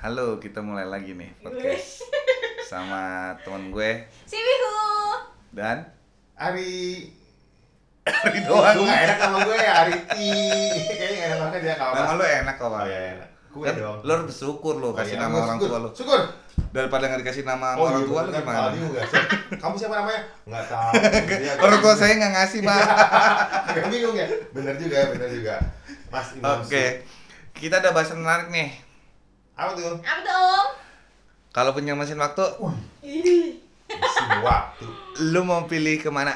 Halo, kita mulai lagi nih podcast sama teman gue Si Wihu. dan Ari Ari Wah, doang. gue gak enak sama gue ya Ari Ti Kayaknya gak enak banget ya, dia kalau Nama lu enak kok, Oh Pak. iya enak Gue Kan dong Lu harus bersyukur lu Oh, kasih iya, nama gua orang syukur. tua lu. Syukur Daripada nggak dikasih nama orang iya, tua lu bener, gimana? Aldi juga. Kamu siapa namanya? Gak tau Iya, Orang tua saya nggak ngasih, Pak. Agak bingung ya Bener juga, bener juga Mas Imam Oke. Kita ada bahasan menarik nih. Su- Apa tuh? Apa tuh Om? Kalau punya mesin waktu, Mesin waktu lu mau pilih kemana?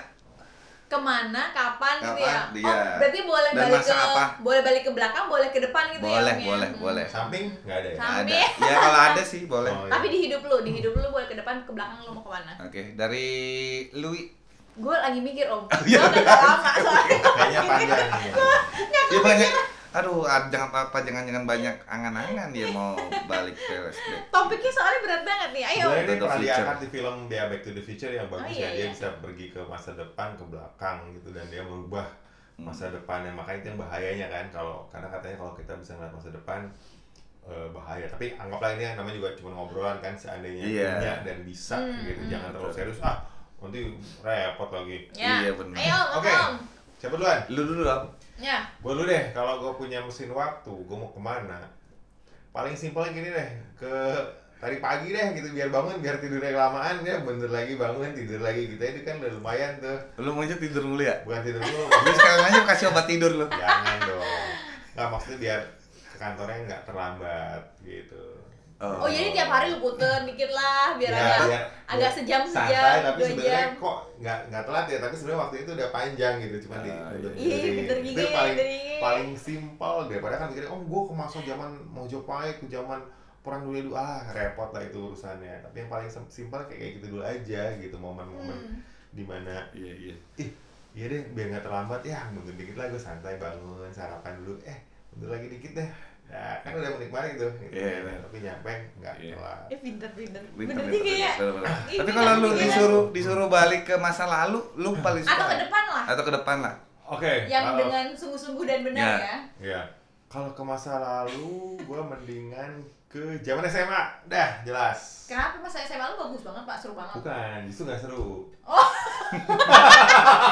Kemana, kapan, gitu ya? Kapan, iya. Oh, berarti boleh Dan balik masa ke apa? boleh balik ke belakang, boleh ke depan gitu ya? Boleh, Om, ya? boleh, Hmm. boleh. Samping? Gak ada ya? Samping. Ada. Ambil. Ya kalau ada sih boleh. Oh, iya. Tapi di hidup lu, di hidup lu boleh ke depan, ke belakang lu mau kemana? Oke, dari Lui. Gue lagi mikir Om. Gue udah lama soalnya. Kayaknya panjang nih Dia banyak. Aduh, ad- jangan apa-apa, jangan-jangan banyak angan-angan dia mau balik ke flashback. Topiknya soalnya berat banget nih. Ayo. Sebenarnya Back to ini the pernah Future. diangkat di film dia Back to the Future yang bagus Eh, iya, ya dia iya. bisa pergi ke masa depan ke belakang gitu dan dia merubah Hmm. masa depannya makanya itu yang bahayanya kan kalau karena katanya kalau kita bisa ngeliat masa depan eh, bahaya tapi anggaplah ini yang namanya juga cuma ngobrolan kan seandainya Iya. punya dan bisa Hmm, gitu hmm. jangan terlalu serius ah nanti repot lagi Ya. Iya, benar. Ayo Om. Oke. Om. siapa duluan Lu dulu apa? Ya. gue dulu deh kalau gue punya mesin waktu gue mau kemana paling simpelnya gini deh ke tadi pagi deh gitu biar bangun biar tidurnya kelamaan ya bener lagi bangun tidur lagi gitu itu kan udah lumayan tuh Lu maunya tidur mulu ya? bukan tidur dulu Lu sekarang aja kasih obat tidur lu. jangan dong nggak maksudnya biar ke kantornya nggak terlambat gitu Oh, jadi tiap hari lu puter dikit lah biar Ya, agak biar- agak sejam santai sejam, tapi dua sebenarnya jam. kok nggak nggak telat ya tapi sebenarnya waktu itu udah panjang gitu cuma di Ah, mundur- iya. Iya, mundurin. bener Itu gigit, paling bener gigit. paling simpel daripada kan mikirnya oh gue kemasuk zaman Mojopahit ke zaman perang dunia dua ah repot lah itu urusannya tapi yang paling sim- simpel kayak kayak gitu dulu aja gitu momen-momen Hmm. dimana Iya, iya. ih iya deh biar nggak terlambat ya mundur dikit lah gue santai bangun sarapan dulu eh mundur lagi dikit deh nah, kan udah menikmati tuh gitu. Iya, iya. tapi nyampe nggak Iya. telat Eh pinter-pinter. Bener, Bener bener, juga ya. bener, bener. Ini Tapi kalau lu kan disuruh disuruh balik ke masa lalu, lu paling suka Atau ke depan lah. atau ke depan lah. oke yang dengan sungguh-sungguh dan benar Ya. ya. ya kalau ke masa lalu gue mendingan ke zaman SMA dah jelas Kenapa masa SMA lu bagus banget pak, seru banget. bukan justru nggak seru Oh.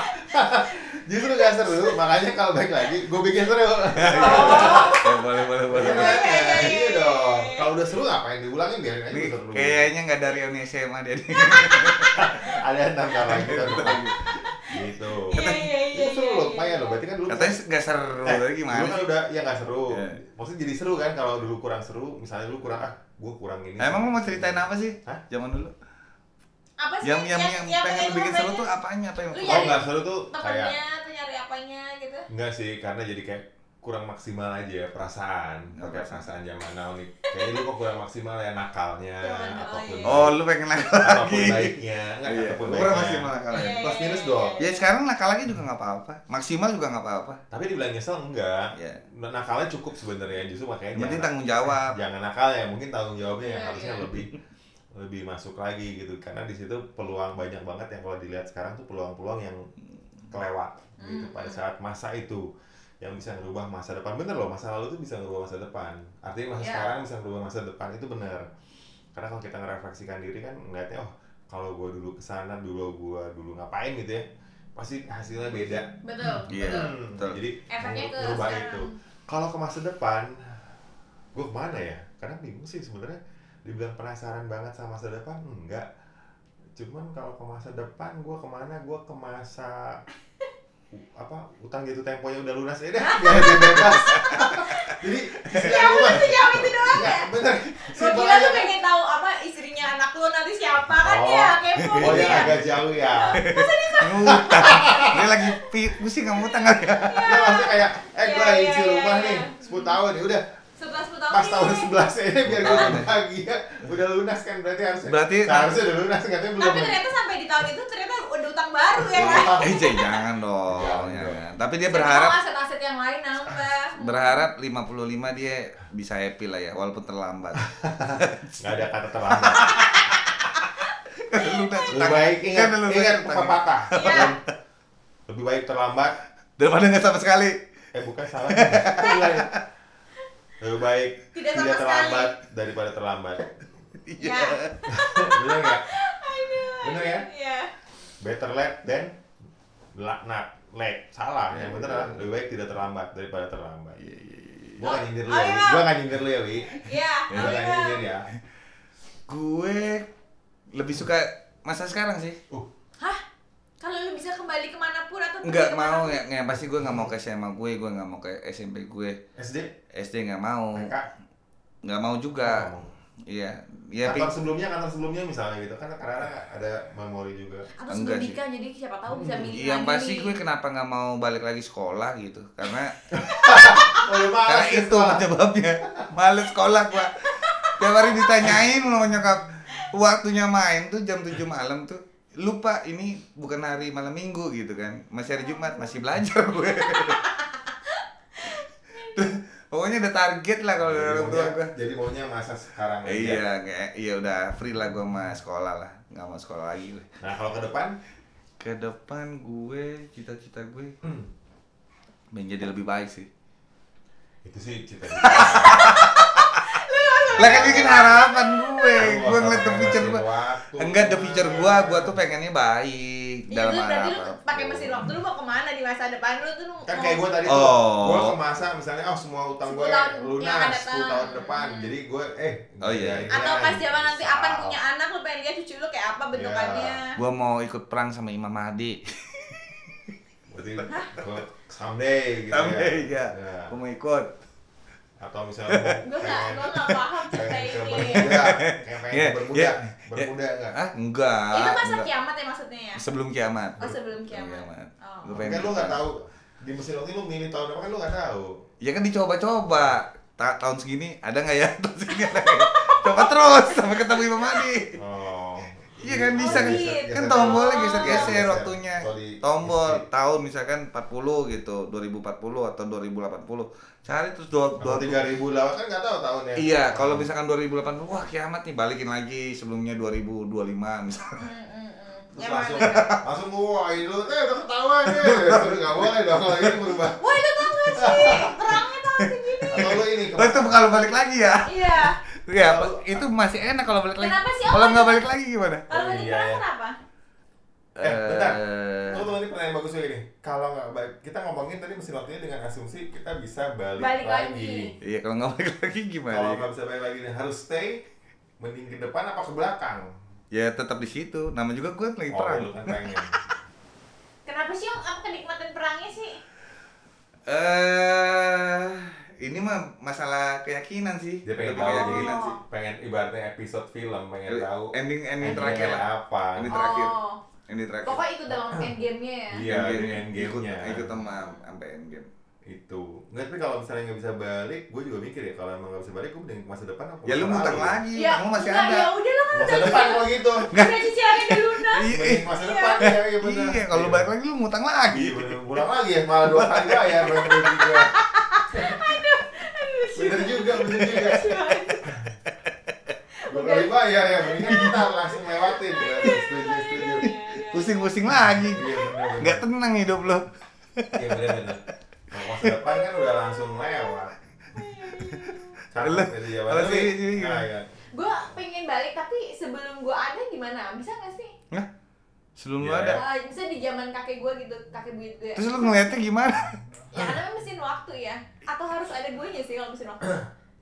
justru nggak seru makanya kalau balik lagi gue bikin seru Iya, Ya boleh, boleh, boleh. Iya, iya, iya, iya. iya dong kalau udah seru ngapain diulangin biarin aja Ini seru kayaknya nggak dari Oni SMA dia. nih. ada tambahan gitu gitu Iya iya iya. itu seru iya, loh iya. lumayan loh berarti kan dulu Katanya nggak seru, Eh, tapi gimana dulu kan sih? udah ya nggak seru Iya. maksudnya jadi seru kan kalau dulu kurang seru misalnya dulu kurang ah gue kurang ini Nah, Emang lu mau ceritain apa sih? Hah? Zaman dulu. Apa sih Yang yang yang pengen lu bikin seru tuh apa? apanya? Apa yang Lu ya? oh nyari nggak seru tuh kayak Temennya tuh nyari apanya gitu. Enggak sih, karena jadi kayak kurang maksimal aja perasaan, Oke. pakai perasaan zaman now nih. Kayaknya dulu kok kurang maksimal ya nakalnya, Zaman now, apapun, iya. Oh, lu pengen nakal apapun lagi. baiknya, enggak Iya, apapun kurang baiknya. maksimal nakalnya. Iya, Plus iya, minus iya, dong. kan? iya. Ya sekarang nakalnya juga nggak apa-apa, maksimal juga nggak apa-apa. Tapi dibilang nyesel enggak. Ya, Nakalnya cukup sebenarnya, justru makanya yang penting jangan, tanggung jawab. jangan nakal ya, mungkin tanggung jawabnya yang Iya, harusnya iya. lebih lebih masuk lagi gitu karena di situ peluang banyak banget yang kalau dilihat sekarang tuh peluang-peluang yang kelewat gitu Hmm. pada saat masa itu yang bisa ngerubah masa depan bener loh masa lalu tuh bisa ngerubah masa depan artinya masa Ya. sekarang bisa ngerubah masa depan itu bener karena kalau kita ngerefleksikan diri kan ngeliatnya oh kalau gua dulu kesana dulu gua dulu ngapain gitu ya pasti hasilnya beda Betul. Iya. Hmm. Betul. Hmm, betul. jadi Efeknya ke ngerubah sekarang. itu kalau ke masa depan gue kemana ya karena bingung sih sebenarnya dibilang penasaran banget sama masa depan enggak cuman kalau ke masa depan gue kemana gue ke masa u- apa utang jatuh temponya udah lunas ya deh biar dia bebas jadi Ya udah sejauh itu doang ya. enggak bener Gua Simpel kira aja lu kan. pengen tahu apa istrinya anak lu nanti siapa kan Oh. ya kepo oh gitu ya ya. agak jauh ya Ngutang. Dia lagi pi- pusing kamu ngutang kali ya. Nah, maksudnya kayak, eh gue Iya, lagi iya, isi iya, rumah iya. nih, 10 tahun ya udah Setelah 10 tahun. pas nih. tahun 11 ini biar gue bahagia udah lunas kan berarti harusnya Berarti- seharusnya udah lunas katanya belum Tapi ternyata sampai di tahun itu ternyata udah utang baru ya kan. Eh, Jay, jangan dong. Jangan jangan. Tapi dia Siapa berharap tahu aset-aset yang lain nambah. berharap 55 dia bisa happy lah ya walaupun terlambat. nggak ada kata terlambat Lu udah lebih baik ingat kan lu udah ingat utang. pepatah Iya. lebih baik terlambat Daripada nggak sama sekali. eh bukan salah Mulai. lebih baik Tidak sama tidak terlambat sekali. daripada terlambat Iya. Ya. bener nggak bener ya Iya. better late than la- not late salah Iya, yang bener betul. lah lebih baik tidak terlambat daripada terlambat Iya, iya, iya. gua nggak nyindir lu Oh, ya Wi. iya. gua nggak nyindir lu ya wi Iya. gua nggak Oliver. nyindir ya Gue lebih suka masa sekarang sih. Hah? Kalau lu bisa kembali kemanapun atau pergi Nggak mau kemana- ya, ya, pasti gue nggak mau ke SMA gue, gue nggak mau ke SMP gue, SD SD nggak mau, TK nggak mau juga. Iya, ya kantor sebelumnya kantor sebelumnya misalnya gitu kan karena ada memori juga Atau Enggak sebelum sih. Hmm, nikah jadi siapa tahu bisa milih yang lagi Iya, pasti nih. gue kenapa nggak mau balik lagi sekolah gitu, karena oh ya Karena malas ya itu penyebabnya Males sekolah gua Tiap hari ditanyain sama nyokap Waktunya main tuh jam 7 malam tuh Lupa ini bukan hari malam minggu gitu kan Masih hari Jumat, masih belajar gue Terus, Pokoknya ada target lah kalau dari jadi orang tua maunya, gue jadi maunya masa sekarang aja. Iya, kayak, iya udah free lah gue sama sekolah lah Gak mau sekolah lagi gue nah kalau ke depan Ke depan gue, cita-cita gue hmm, menjadi lebih baik sih itu sih cita-cita Lah kan bikin harapan gue Gue ngeliat the future gue gue Enggak the future gua, gua tuh pengennya baik dalam Iya, lu berarti lu hal apa. pakai mesin waktu lu mau kemana di masa depan lu tuh lu kan mau- kayak gue tadi Oh. tuh gue ke masa misalnya oh semua utang gue 10 tahun yang akan lunas 10 tahun datang. Hmm. depan jadi gue eh Oh, iya. jalan-jalan. atau pas zaman nanti Misal. akan punya anak lu pengen lihat cucu lu kayak apa bentukannya Iya. Gua mau ikut perang sama Imam Mahdi. berarti gua someday gitu Someday, ya, ya. Gua mau ikut. atau misalnya gue nggak gue nggak paham cerita kayak ini bermuda Iya, kayak pengen bermuda iya, bermuda enggak Ah, enggak. itu masa enggak. kiamat ya maksudnya ya Sebelum kiamat. oh sebelum kiamat oh. Gua pengen kan lu ikut nggak perang. tahu di mesin waktu lu milih tahun apa kan lu nggak tahu Ya kan dicoba-coba. Ta- tahun segini ada nggak ya? Tahun segini ada nggak ya? Coba terus sampai ketemu Imam Mahdi. oh iya. Iya kan, bisa kan? Kan Geser-geser. tombolnya Oh. geser-geser Geser. waktunya. Kalau di- Tombol di- tahun misalkan 40 gitu, 2040 atau 2080. Cari terus dua dua- Kalau 3008 kan nggak tahu tahunnya Iya, kalau misalkan 2080, wah kiamat nih balikin lagi sebelumnya 2025 misalnya. Mm, mm, mm. Terus Ya, langsung makanya. langsung ngowai lu, eh udah ketahuan deh. Terus nggak boleh dong kalau ini berubah. Wah itu tau gak sih? Terangnya tau segini Atau lu ini Oh, itu kalau balik lagi ya? Iya Iya, pa- itu masih enak kalau balik lagi. Kenapa sih, Om? Kalau nggak balik lagi gimana? Kalau Oh, balik iya, perang iya. kenapa? Eh, bentar. Eh, Lu tuh ini pertanyaan bagus juga nih. Kalau nggak balik, kita ngomongin tadi mesin waktunya dengan asumsi kita bisa balik, Balik lagi. Iya, kalau nggak balik lagi gimana? Kalau ya? nggak bisa balik lagi nih, harus stay. Mending ke depan apa ke belakang? Ya tetap di situ. Nama juga gue lagi Oh, perang. lu kan pengen. Kenapa sih om? Apa kenikmatan perangnya sih? Eh, ini mah masalah keyakinan sih. Dia pengen Lebih tahu. keyakinan sih. pengen ibaratnya episode film, pengen tahu. Ending ending endingnya terakhir lah. apa? Ini Ending- terakhir. Oh, Ending terakhir. pokoknya ikut dalam endgame-nya ya? Iya, ini ikut, endgame-nya. ikut sama sampai endgame. itu gitu. nggak tapi kalau misalnya nggak bisa balik gue juga mikir ya kalau emang nggak bisa balik gue mending ke masa depan apa Ya lu masa ngutang lalu? lagi, Ya, utang lu masih enggak, ada. Ya udah lah kan masa udah depan kalau gitu udah cicilannya di lunas. Iya, mending ke masa depan ya iya benar iya, kalau balik lagi lu ngutang lagi. iya bener pulang lagi ya malah dua kali bayar bayar dua juga bener juga bener juga dua kali bayar ya mendingan kita langsung Iya, lewatin ya setuju setuju Pusing-pusing lagi. iya bener bener Nggak tenang hidup lu. iya bener bener kalau masa depan kan udah langsung lewat Lu- Cakep itu jawabannya. kalau sini- sini Nah, gimana? iya. Gue pengen balik tapi sebelum gue ada gimana? Bisa gak sih? Nah, sebelum lu Iya. ada. Eh, bisa di zaman kakek gue gitu, kakek buyut gue. Terus lu ngeliatnya gimana? Ya karena mesin waktu ya. Atau harus ada gue nya sih kalau mesin waktu.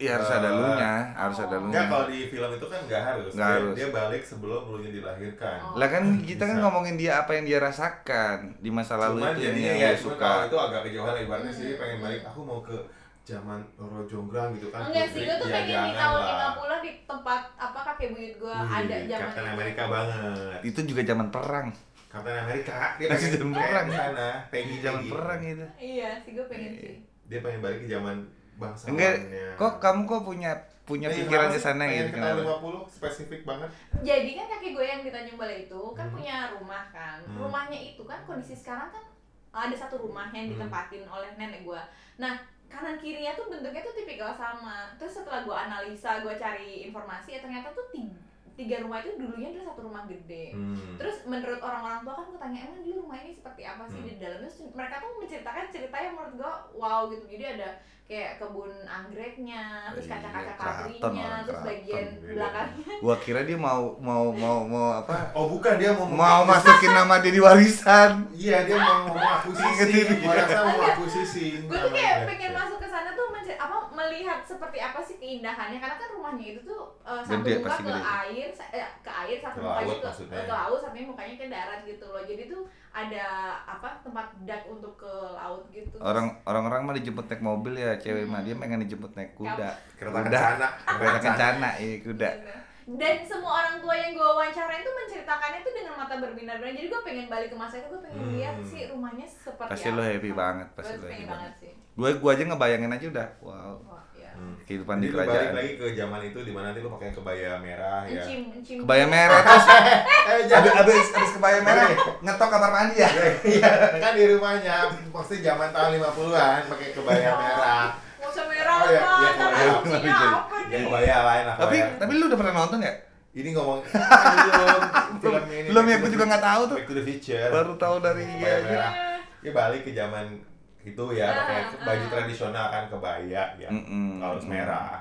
Iya harus ada lu nya, harus ada lu. Eh. Enggak kalau di film itu kan nggak harus. Nggak dia, harus. dia balik sebelum dulunya dilahirkan. Oh. Lah kan kita kan Bisa. ngomongin dia apa yang dia rasakan di masa lalu Cuman itu yang jadinya dia ya, cuman suka. kalau itu agak kejauhan ibaratnya Hmm. sih pengen balik aku mau ke zaman Roro Jonggrang gitu kan. Enggak sih, Putri, gue tuh ya pengen di jangan tahun lah. 50 di tempat apa kakek buyut gue Wih, ada zaman Captain itu. America banget. Itu juga zaman perang. Captain America dia Masih pengen zaman kayak perang. di sana, Peggy Di zaman Peggy. perang itu. Iya sih gue pengen Iya. sih. Dia pengen balik ke zaman bangsa. Enggak, kok kamu kok punya punya pikiran ke sana gitu Pengen ke kenapa? tahun 50 spesifik banget. Jadi kan kakek gue yang di Tanjung Balai itu kan Hmm. punya rumah kan. Hmm. Rumahnya itu kan kondisi sekarang kan ada satu rumah yang Hmm. ditempatin oleh nenek gue. Nah kanan kirinya tuh bentuknya tuh tipikal sama. Terus setelah gue analisa, gue cari informasi, ya ternyata tuh ti- tiga rumah itu dulunya adalah satu rumah gede Hmm. terus menurut orang-orang tua kan gue tanya emang dulu rumah ini seperti apa sih Hmm. di dalamnya Terus mereka tuh menceritakan cerita yang menurut gue wow gitu jadi ada kayak kebun anggreknya terus Iya, kaca-kaca keraton kaprinya orang, terus keraton, bagian gitu. belakangnya Gua kira dia mau mau mau mau apa? Oh bukan dia mau Mau masukin nama dia di warisan. Iya dia mau mengakuisisi, Ingetin. orang sama mengakuisisi. gue tuh kayak ya. pengen masuk ke sana tuh mencer- apa melihat seperti apa sih keindahannya karena kan rumahnya itu tuh eh, satu Gede, muka pasti ke gede. air sa- eh, ke air satu Ke mukanya laut ke, maksudnya. ke laut satunya mukanya ke darat gitu loh jadi tuh ada apa tempat dak untuk ke laut gitu Orang orang-orang mah dijemput naik mobil ya cewek mah dia pengen dijemput naik kuda. Kereta Udah. kencana. Kereta kencana ya kuda. Iya. dan semua orang tua yang gue wawancarain tuh menceritakannya tuh dengan mata berbinar-binar jadi gue pengen balik ke masa itu gue pengen Hmm. lihat sih rumahnya seperti Pasti apa lo happy banget, pasti gue lo pengen happy banget banget. sih Gue gue aja ngebayangin aja udah. Wow. Wah, ya. Hmm. Kehidupan Jadi di lu balik kerajaan. lagi ke zaman itu di mana nanti lu pakai kebaya Ah, merah iya. ya. Encim, encim. Kebaya merah terus Eh abis jangan abis, abis kebaya merah ngetok kamar mandi ya. Iya, kan di rumahnya pasti zaman tahun 50-an pakai kebaya Oh. merah. Nggak usah merah Oh, iya, lah, iya, ntar iya, asumsinya iya. apa Ya nih? kebaya lain lah. Tapi kebaya. tapi lu udah pernah nonton ya? ini ngomong kan belum film ini. Belum ya, Back to gue the juga nggak tahu tuh. Back to the Future. Baru tahu dari Kebaya dia. merah. Ya balik ke zaman itu ya Ah, pakai ah. baju tradisional kan kebaya ya. Mm-mm. Nggak harus merah.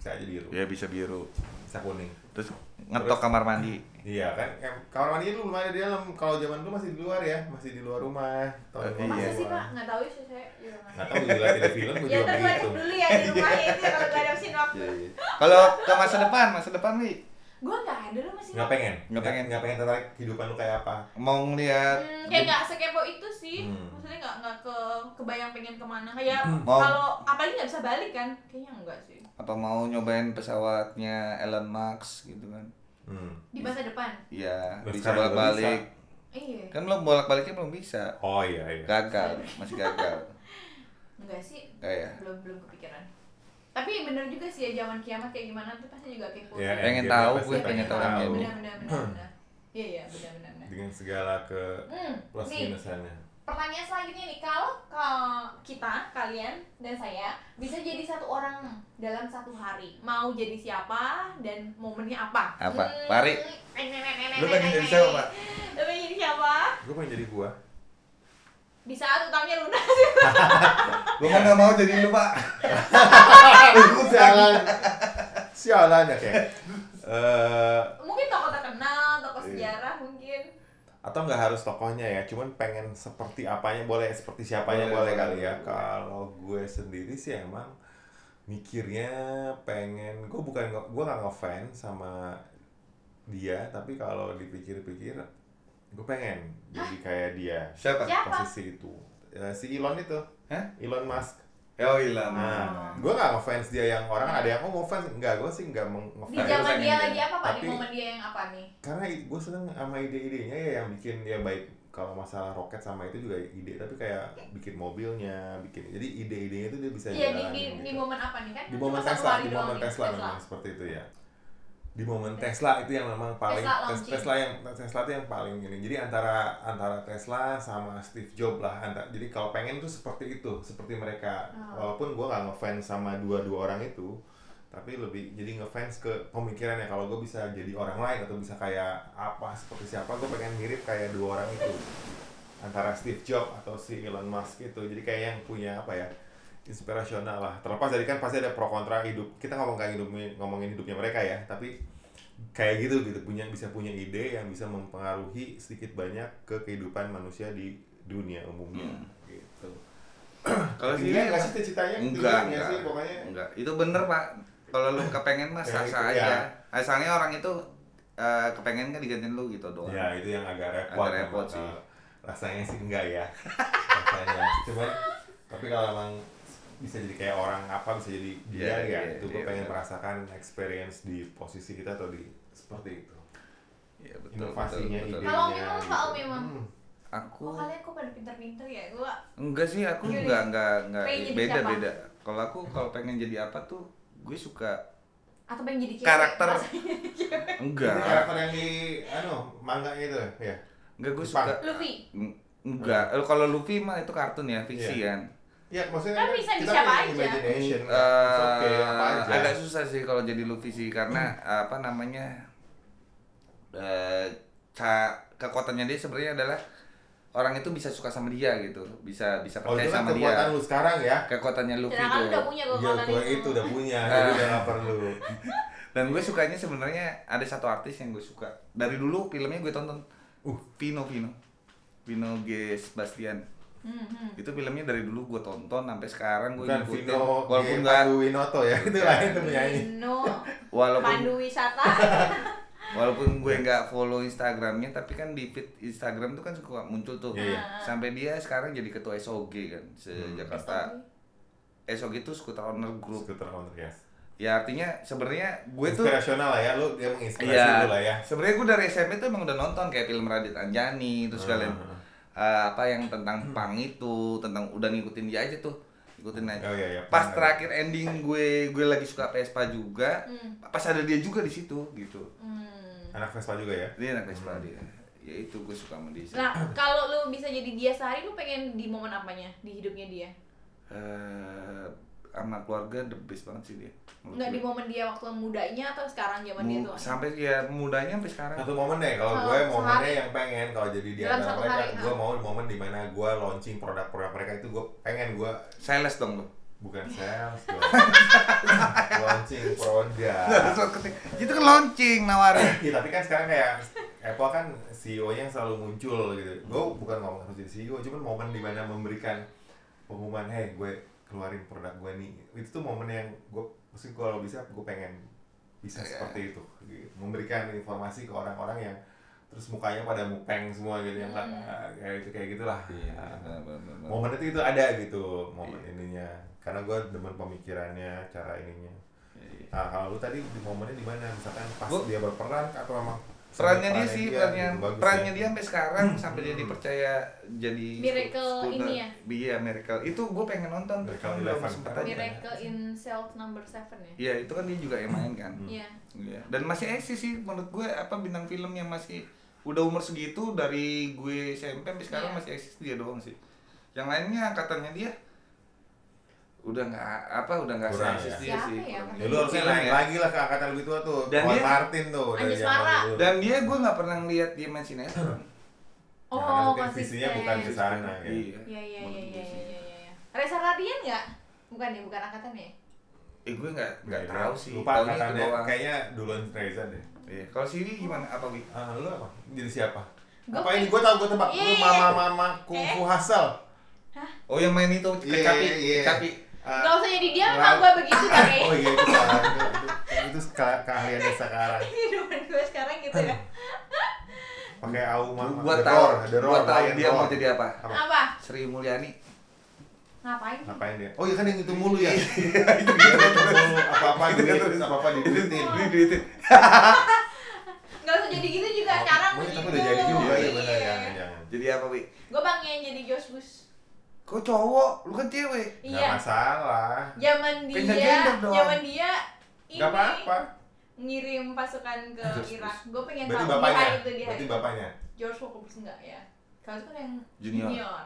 Bisa aja biru. Ya bisa biru. Bisa kuning. Terus ngetok kamar mandi. Iya kan, em, kamar mandi lu belum ada di dalam. Kalau zaman dulu masih di luar ya, masih di luar Eh, rumah. Tahun Masa Iya. sih pak? Nggak tahu sih saya. Iya, nggak Nggak tahu gila tidak film tahu. gue Ya juga ntar gue gitu. Iya. begitu. cek dulu ya di rumahnya itu ya kalau nggak ada mesin waktu. Iya, Kalau ke masa depan, masa depan nih Gue nggak ada loh mesin Nggak pengen, Nggak pengen. nggak pengen tertarik kehidupan lu kayak apa. mau ngeliat Hmm, kayak nggak sekepo itu sih. Hmm. Maksudnya nggak nggak ke kebayang pengen kemana. Kayak Mau. kalau apalagi nggak bisa balik kan? Kayaknya enggak sih. apa mau nyobain pesawatnya Elon Musk gitu kan? Hmm. Di masa depan. Iya, Terus bisa sekarang bolak juga balik. Iya. Kan belum bolak baliknya belum bisa. Oh iya iya. Kan Gagal, masih gagal. Enggak sih. ya. Kayak Belum belum kepikiran. Tapi bener juga sih ya zaman kiamat kayak gimana tuh pasti juga kepo. kan. Iya, sih. iya. pengen Endgame tahu pasti gue pengen pengen tahu tahu. endgame. Benar benar benar benar. Iya iya benar benar. benar. Dengan segala ke Hmm, plus nih, minusannya. pertanyaan selanjutnya nih kalau kalau kita kalian dan saya bisa jadi satu orang dalam satu hari mau jadi siapa dan momennya apa Hmm. Apa? Pari. Lu pengen jadi siapa, Pak? lu pengen jadi siapa Gue pengen jadi gua. di saat utangnya lunas Gue kan nggak mau jadi lu pak. Sialan. Sialan ya kayak. Eh, mungkin tokoh terkenal tokoh sejarah mungkin atau nggak harus tokohnya ya cuman pengen seperti apanya boleh seperti siapanya Boleh, boleh, kali boleh, ya boleh. kalau gue sendiri sih emang mikirnya pengen gue bukan nge- gue nggak ngefans sama dia tapi kalau dipikir-pikir gue pengen jadi kayak dia Siapa? Siapa? posisi itu Eh, si Elon itu Hah? Elon Musk Ya gila. nah gue nggak ngefans dia yang orang kan ada yang oh mau fans nggak gue sih nggak meng- Tapi lu di ngefans zaman pengen dia jadi- lagi apa pak di tapi- momen dia yang apa nih karena gue seneng sama ide-idenya ya yang bikin ya baik kalau masalah roket sama itu juga ide tapi kayak bikin mobilnya bikin jadi ide-idenya itu dia bisa iya di, jalanin di, gitu. di momen apa nih kan Di cuma momen satu Tesla hari doang di gitu, momen nih, Tesla memang seperti itu ya di momen Tesla itu yang memang paling Tesla Tes- launching. Tesla yang Tesla itu yang paling ini jadi antara antara Tesla sama Steve Jobs lah antara, jadi kalau pengen tuh seperti itu seperti mereka Oh. walaupun gue nggak ngefans sama dua-dua orang itu tapi lebih jadi ngefans ke pemikirannya kalau gue bisa jadi orang lain atau bisa kayak apa seperti siapa gue pengen mirip kayak dua orang itu antara Steve Jobs atau si Elon Musk itu jadi kayak yang punya apa ya inspirasional lah terlepas dari kan pasti ada pro kontra hidup kita ngomong kayak hidup ngomongin hidupnya mereka ya tapi kayak gitu gitu punya bisa punya ide yang bisa mempengaruhi sedikit banyak ke kehidupan manusia di dunia umumnya Hmm. gitu Kalau sih Ketinggian Iya, nggak sih cita-citanya enggak, Ketinggian nggak enggak, sih pokoknya enggak. Itu bener pak. Kalau lu kepengen mah Ya, sah itu, sah ya. aja. Asalnya orang itu eh, kepengen kan digantiin lu gitu doang. ya itu yang agak repot Agak repot memang. sih. rasanya sih enggak ya rasanya cuman tapi kalau emang bisa jadi kayak orang apa bisa jadi dia Iya, ya iya, itu gue iya, pengen benar. merasakan experience di posisi kita atau di seperti itu Iya, inovasinya iya. betul. idenya Kalau Om Imam apa, Om ya, Imam? Hmm. Aku Oh, kalian kok pada pinter-pinter ya? Gua Enggak sih, aku Yuri. enggak enggak enggak Iya, Pengen jadi beda siapa? beda. Kalau aku kalau pengen jadi apa tuh gue suka atau pengen jadi cewek, Karakter. rasanya. Itu enggak karakter yang di anu manga itu ya enggak gue Jepang. suka Luffy. Eng- enggak Eh, kalau Luffy mah itu kartun ya fiksi kan ya Kan maksudnya bisa di kita siapa punya aja. Eh, imagination kan. It's ya. okay, apa aja Hmm. agak susah sih kalau jadi Luffy sih karena apa namanya eh, ca- kekuatannya dia sebenarnya adalah orang itu bisa suka sama dia gitu bisa bisa Oh percaya itu kan sama kekuatan dia lu sekarang ya. kekuatannya Luffy Sedangkan itu lu udah punya Iya, kekuatan gue itu itu. udah punya, Eh. jadi udah gak perlu. dan gue sukanya sebenarnya ada satu artis yang gue suka dari dulu filmnya gue tonton uh Vino Vino Vino G Sebastian Hmm, hmm. itu filmnya dari dulu gue tonton sampai sekarang gue Bukan ngikutin Vino, walaupun G. nggak Pandu Winoto ya, itu lain tuh penyanyi. Vino, walaupun pandu wisata. walaupun Iya. gue nggak follow Instagramnya tapi kan di feed Instagram tuh kan suka muncul tuh Iya, iya. sampai dia sekarang jadi ketua SOG kan se Hmm. Jakarta SOG itu Scooter Owner Group Skuter Hunter ya. ya artinya sebenarnya gue tuh Inspirasional lah ya, lu dia menginspirasi Iya. lu lah ya. Sebenarnya gue dari SMP tuh emang udah nonton kayak film Radit Anjani terus kalian Heeh. Eh, apa yang tentang pang itu, tentang udah ngikutin dia aja tuh, ngikutin aja. Oh iya iya. Pas pernah. terakhir ending gue gue lagi suka Vespa juga, Hmm, pas ada dia juga di situ gitu. hmm. Anak Vespa juga ya. Dia anak Vespa dia. Ya itu gue suka sama dia. sih. Nah, kalau lu bisa jadi dia sehari, lu pengen di momen apanya? Di hidupnya dia? Eh, sama keluarga the best banget sih dia. menurut Enggak di gue. momen dia waktu mudanya atau sekarang zaman dia Mu- tuh? sampai ya mudanya sampai sekarang. Satu momen deh, kalau Kalau gue sehari. momennya yang pengen kalau jadi di Dalam antara satu mereka, hari, gue mau momen dimana gue launching produk-produk mereka itu gue pengen gue Sales dong lo. bukan sales, gue launching produk. itu kan launching nawarin. Iya tapi kan sekarang kayak Apple kan CEO-nya yang selalu muncul gitu. Gue bukan ngomong harus jadi CEO, cuman momen dimana memberikan pengumuman, hey gue keluarin produk gue nih. Itu tuh momen yang gue, mesti kalau bisa gue pengen bisa Iya. seperti itu. gitu. Memberikan informasi ke orang-orang yang terus mukanya pada mupeng semua gitu yang Hmm. ah, kayak itu kayak gitulah. Iya, Ah, benar, benar, Iya. benar. Momen itu itu ada gitu, momen ininya. Karena gue demen pemikirannya, cara ininya. Iya. Nah, kalau lu tadi di momennya di mana? Misalkan pas Gua- dia berperan atau memang perannya dia sih perannya gitu, bagus perannya ya. dia sampai sekarang sampai dia dipercaya jadi Miracle ini ya? iya miracle itu gue pengen nonton tuh Miracle cuma belum Eleven. ya? sempet aja. Miracle in Self Number 7 ya? iya itu kan dia juga yang main kan Hmm. Iya. Iya. dan masih eksis sih menurut gue apa bintang film yang masih udah umur segitu dari gue SMP sampai sekarang Iya. masih eksis dia doang sih yang lainnya katanya dia udah nggak apa udah nggak Kurang eksis ya. dia Siapa sih ya? kurang. Ya, lu harusnya Film naik ya. lagi lah ke angkatan lebih tua tuh. Dan Tuan dia- Martin tuh dari Anjis zaman Mara. dulu. dan dia gue nggak pernah lihat dia main sinetron Ya, karena Oh, mungkin visinya konsisten. bukan ke sana ya. iya Iya, iya, iya, Menurut iya, gue sih. iya, iya, iya. Reza Radian nggak? Bukan ya, bukan angkatan ya? Eh gue nggak nggak Beda. tahu sih. Lupa Taunya itu angkatannya. doang. Kayaknya duluan Reza deh. Iya. Kalau sini gimana apa Wi? Ah, lu apa? Jadi siapa? Gua apa ini? pengen- Gue tau gue tebak. Lu Iya. Eh. mama-mama kungfu hasil. Oh yang main itu Iya, kecapi, iya. kecapi. Ah, Gak usah jadi dia, Wow. emang gue begitu tapi oh iya itu salah. Itu- Itu ke- keahliannya sekarang. Ini depan gue sekarang gitu ya Pakai au mama. Gua The tahu, Roar, The gua Roar, tahu Lion dia mau Roar. jadi apa. Apa? Apa? Sri Mulyani. Ngapain? ngapain dia? Oh iya kan yang itu mulu ya. Itu Dia itu mulu apa-apa duit, Iya, apa-apa diduitin. duitin. Gak usah jadi gitu juga, sekarang Oh, Mungkin begitu Iya, tapi udah jadi juga ya Iya. benar jangan jangan. Jadi apa Wi? Gue pengen jadi Josh Bush Kok cowok? Lu kan cewek. Nggak Iya, masalah. zaman Pindah dia, gender dong. zaman dia ini Enggak apa-apa. ngirim pasukan ke Josh Bush. Irak. Gue pengen Berarti tahu bapaknya. dia itu dia. Berarti bapaknya. George Walker Bush enggak ya? Kalau itu kan yang Junior.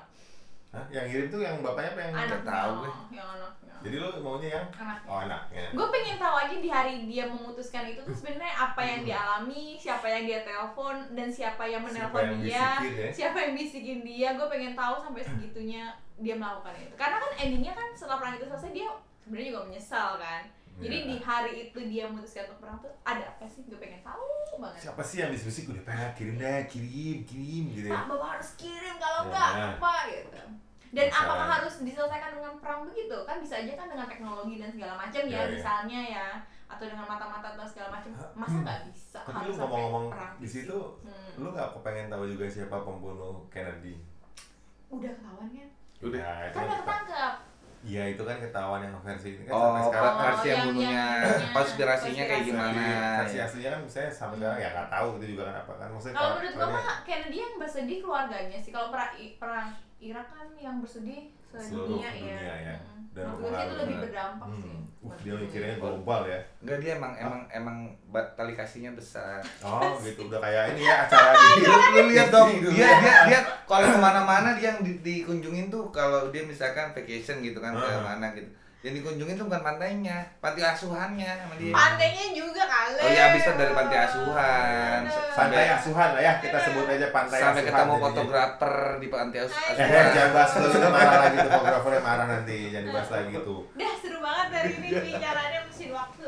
Hah? Yang ngirim tuh yang bapaknya apa yang Anaknya, tahu gue. yang anaknya. Jadi lu maunya yang Anaknya. oh anaknya. Gue pengen tahu aja di hari dia memutuskan itu tuh sebenarnya apa yang dialami, siapa yang dia telepon dan siapa yang Hmm. Siapa yang menelpon dia, bisikin ya? siapa yang bisikin dia. Gue pengen tahu sampai segitunya dia melakukan itu. Karena kan endingnya kan setelah perang itu selesai dia sebenarnya juga menyesal kan. Jadi Iya. di hari itu dia memutuskan untuk perang tuh ada apa sih? Gue pengen tahu banget. Siapa sih yang bisik-bisik udah pengen kirim deh, kirim, kirim gitu ya. Pak Bapak harus kirim kalau Ya. enggak apa gitu. Dan Bisa. apakah harus diselesaikan dengan perang begitu? Kan bisa aja kan dengan teknologi dan segala macam ya, Ya, ya. misalnya ya atau dengan mata-mata atau segala macam. Masa nggak bisa? Hmm. Tapi harus lu sampai ngomong-ngomong perang di fisik? situ, Hmm. lu nggak kepengen tahu juga siapa pembunuh Kennedy? udah ketahuan kan? Udah. Ya, itu Kan kan nggak ketangkep. Iya itu kan ketahuan yang versi ini kan sampai Oh, sekarang. Oh, versi yang yang- dulunya yang- konspirasinya kayak konspirasi. gimana? versi Iya, aslinya kan misalnya sampai sekarang ya nggak tahu itu juga kenapa kan maksudnya Kalau menurut gua karena mah Kennedy yang bersedih keluarganya sih. Kalau perang perang Irak kan yang bersedih seluruh sedunia dunia, ya Mm-mm. dan Hmm. Menurut gua sih itu mempengaruhi. lebih berdampak Hmm. sih. Uh, buat dia dunia. mikirnya global ya Enggak dia emang emang emang ba- tali kasihnya besar. oh gitu udah kayak ini ya acara Lu, di Iya, lu lihat dong Di- di- dia dia dia kalau kemana-mana dia yang di- dikunjungin tuh kalau dia misalkan vacation gitu kan ke Heeh. mana gitu yang dikunjungin tuh bukan pantainya panti asuhannya sama dia Pantainya juga kali. Oh iya bisa dari panti asuhan Bener. Pantai sampai asuhan lah ya, kita sebut aja pantai sampai asuhan. ketemu jadinya. fotografer di panti as- Hai. Eh, eh, asuhan. jangan bahas dulu, itu marah lagi tuh, fotografernya marah nanti, jangan dibahas lagi gitu. tuh. Dah seru banget dari ini Iya. bicaranya mesin waktu.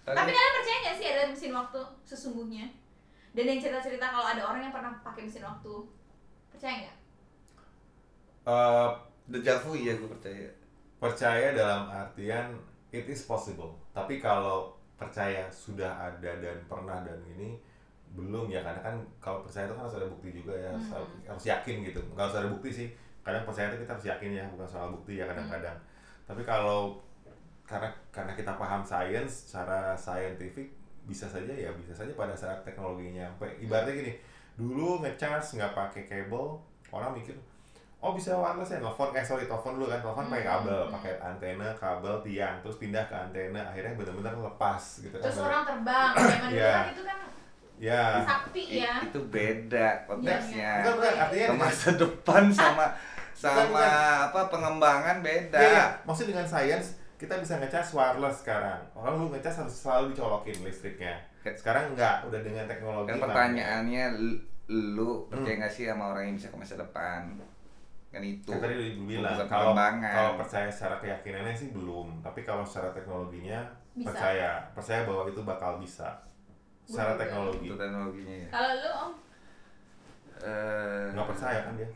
Tapi kalian percaya nggak sih ada mesin waktu sesungguhnya? Dan yang cerita-cerita kalau ada orang yang pernah pakai mesin waktu, percaya nggak? Eh, Dejavu iya gue percaya. percaya dalam artian it is possible tapi kalau percaya sudah ada dan pernah dan ini belum ya karena kan kalau percaya itu kan harus ada bukti juga ya harus, Hmm. harus yakin gitu nggak harus ada bukti sih kadang percaya itu kita harus yakin ya bukan soal bukti ya kadang-kadang tapi kalau karena karena kita paham sains secara scientific bisa saja ya bisa saja pada saat teknologinya nyampe ibaratnya gini dulu ngecharge nggak pakai kabel orang mikir oh bisa wireless ya telepon eh sorry telepon dulu kan telepon pakai Hmm, kabel hmm. pakai antena kabel tiang terus pindah ke antena akhirnya benar-benar lepas gitu kan Terus Iya. orang terbang, zaman dulu Iya. kan itu kan ya sakti I- ya. Itu beda bukan konteksnya. bukan artinya Ke masa depan sama sama bukan. apa pengembangan beda. Ya, ya. maksud dengan sains kita bisa ngecas wireless sekarang. Orang dulu ngecas harus selalu dicolokin listriknya. Sekarang enggak, udah dengan teknologi. Kan mah. pertanyaannya l- lu percaya Hmm. nggak sih sama orang yang bisa ke masa depan? Kan itu. Kan tadi udah ibu bilang Bukan kalau pengembangan. kalau percaya secara keyakinannya sih belum, tapi kalau secara teknologinya Bisa. percaya, percaya bahwa itu bakal bisa. Secara Bener. teknologi. Itu teknologinya ya. Kalau lu om, Eh, Enggak percaya kan dia?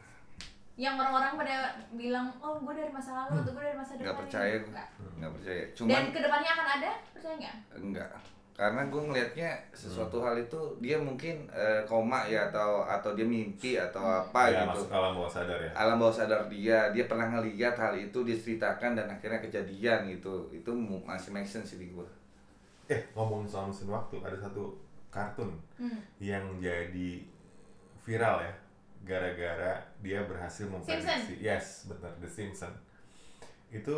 yang orang-orang pada bilang, oh gue dari masa lalu atau gue dari masa depan. gitu Nggak percaya gue. Nggak. Nggak percaya. Dan Cuman kedepannya akan ada, percaya nggak? enggak karena gue ngelihatnya sesuatu Hmm. hal itu dia mungkin eh, koma ya atau atau dia mimpi atau apa ya, gitu masuk alam bawah sadar ya. alam bawah sadar dia dia pernah ngelihat hal itu diceritakan dan akhirnya kejadian gitu itu mu- masih make sense sih di gue Eh, ngomongin soal mesin waktu, ada satu kartun Hmm. yang jadi viral ya gara-gara dia berhasil memprediksi yes benar The Simpson itu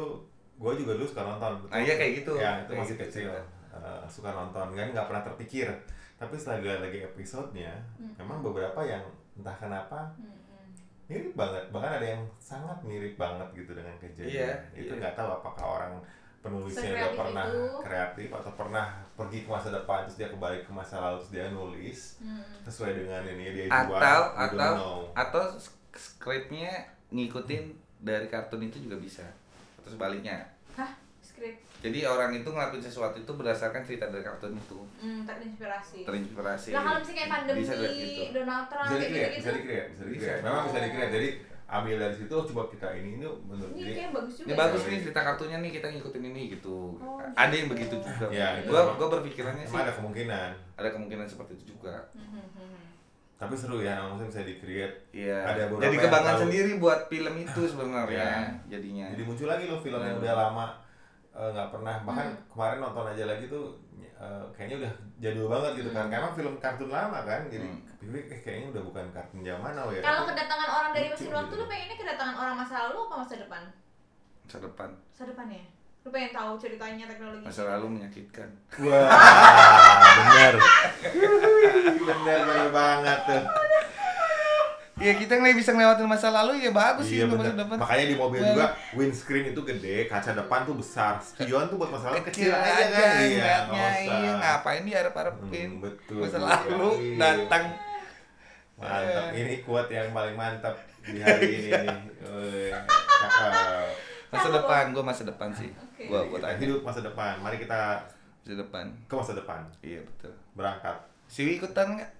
gue juga dulu suka nonton Nah, iya kayak gitu. ya itu Kayak masih gitu kecil cerita. Eh, suka nonton kan nggak pernah terpikir tapi setelah dilihat lagi episodenya Hmm. memang beberapa yang entah kenapa Hmm, hmm. mirip banget bahkan ada yang sangat mirip banget gitu dengan Iya, kejadian itu iya. nggak tahu apakah orang penulisnya udah Sekreatif pernah itu. kreatif atau pernah pergi ke masa depan terus dia kembali ke masa lalu terus dia nulis Hmm. sesuai dengan ini dia Atau- jual, we don't atau- know. atau sk- scriptnya ngikutin dari kartun itu juga bisa atau sebaliknya Hah? Skrip. jadi orang itu ngelakuin sesuatu itu berdasarkan cerita dari kartun itu Hmm, terinspirasi. terinspirasi Nah kalau misalnya kayak pandemi, bisa lihat gitu Donald Trump, bisa kayak dikreat bisa gitu-gitu. dikreat bisa dikreat Bisa. memang bisa dikreat jadi ambil dari situ oh, coba kita ini ini menurut Ini dia kayak bagus juga. ini ya. bagus nih cerita kartunya nih kita ngikutin ini gitu Oh, ada gitu. yang begitu juga Ya, itu gua emang- gua berpikirannya sih emang ada kemungkinan ada kemungkinan seperti itu juga Hmm, hmm, hmm. tapi seru ya maksudnya bisa dikreat Ada Iya. beberapa Jadi yang kebanggaan tahu. sendiri buat film itu sebenarnya Iya. jadinya. jadi muncul lagi loh film yang Hmm. udah lama eh, nggak pernah bahkan Hmm. kemarin nonton aja lagi tuh eh, kayaknya udah jadul banget gitu kan Hmm. karena film kartun lama kan jadi Hmm. kepikir, eh, kayaknya udah bukan kartun zaman now ya Kalau kedatangan orang dari Lucu mesin waktu, gitu. lu pengennya kedatangan orang masa lalu apa masa depan? Masa depan, Masa depan ya? Lu pengen tahu ceritanya teknologi? masa lalu menyakitkan. wah bener bener bener banget tuh Iya kita nggak bisa ngelewatin masa lalu ya bagus sih Iya untuk bener. masa depan. Makanya di mobil Well. juga windscreen itu gede, kaca depan tuh besar. Spion tuh buat masalah Kecil aja kan. Iya, ngeliatnya, nggak usah. iya ngapain Hmm, diharap-harapin. betul. Masa juga. lalu Iya. datang. Mantap. Iya. Ini quote yang paling mantap di hari ini nih. Wih, Cakep. Masa depan, gua masa depan sih. Oke. Gua gua Kita tanya hidup masa depan. Mari kita masa depan. ke masa depan. Iya betul. Berangkat. Siwi ikutan nggak?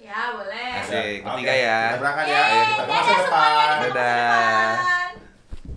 Ya boleh. Asik, Oke, ketiga ya. Kita berangkat ya. Yeay, Ayo kita ke masa dadah depan. semuanya, kita ke masa Dadah. depan.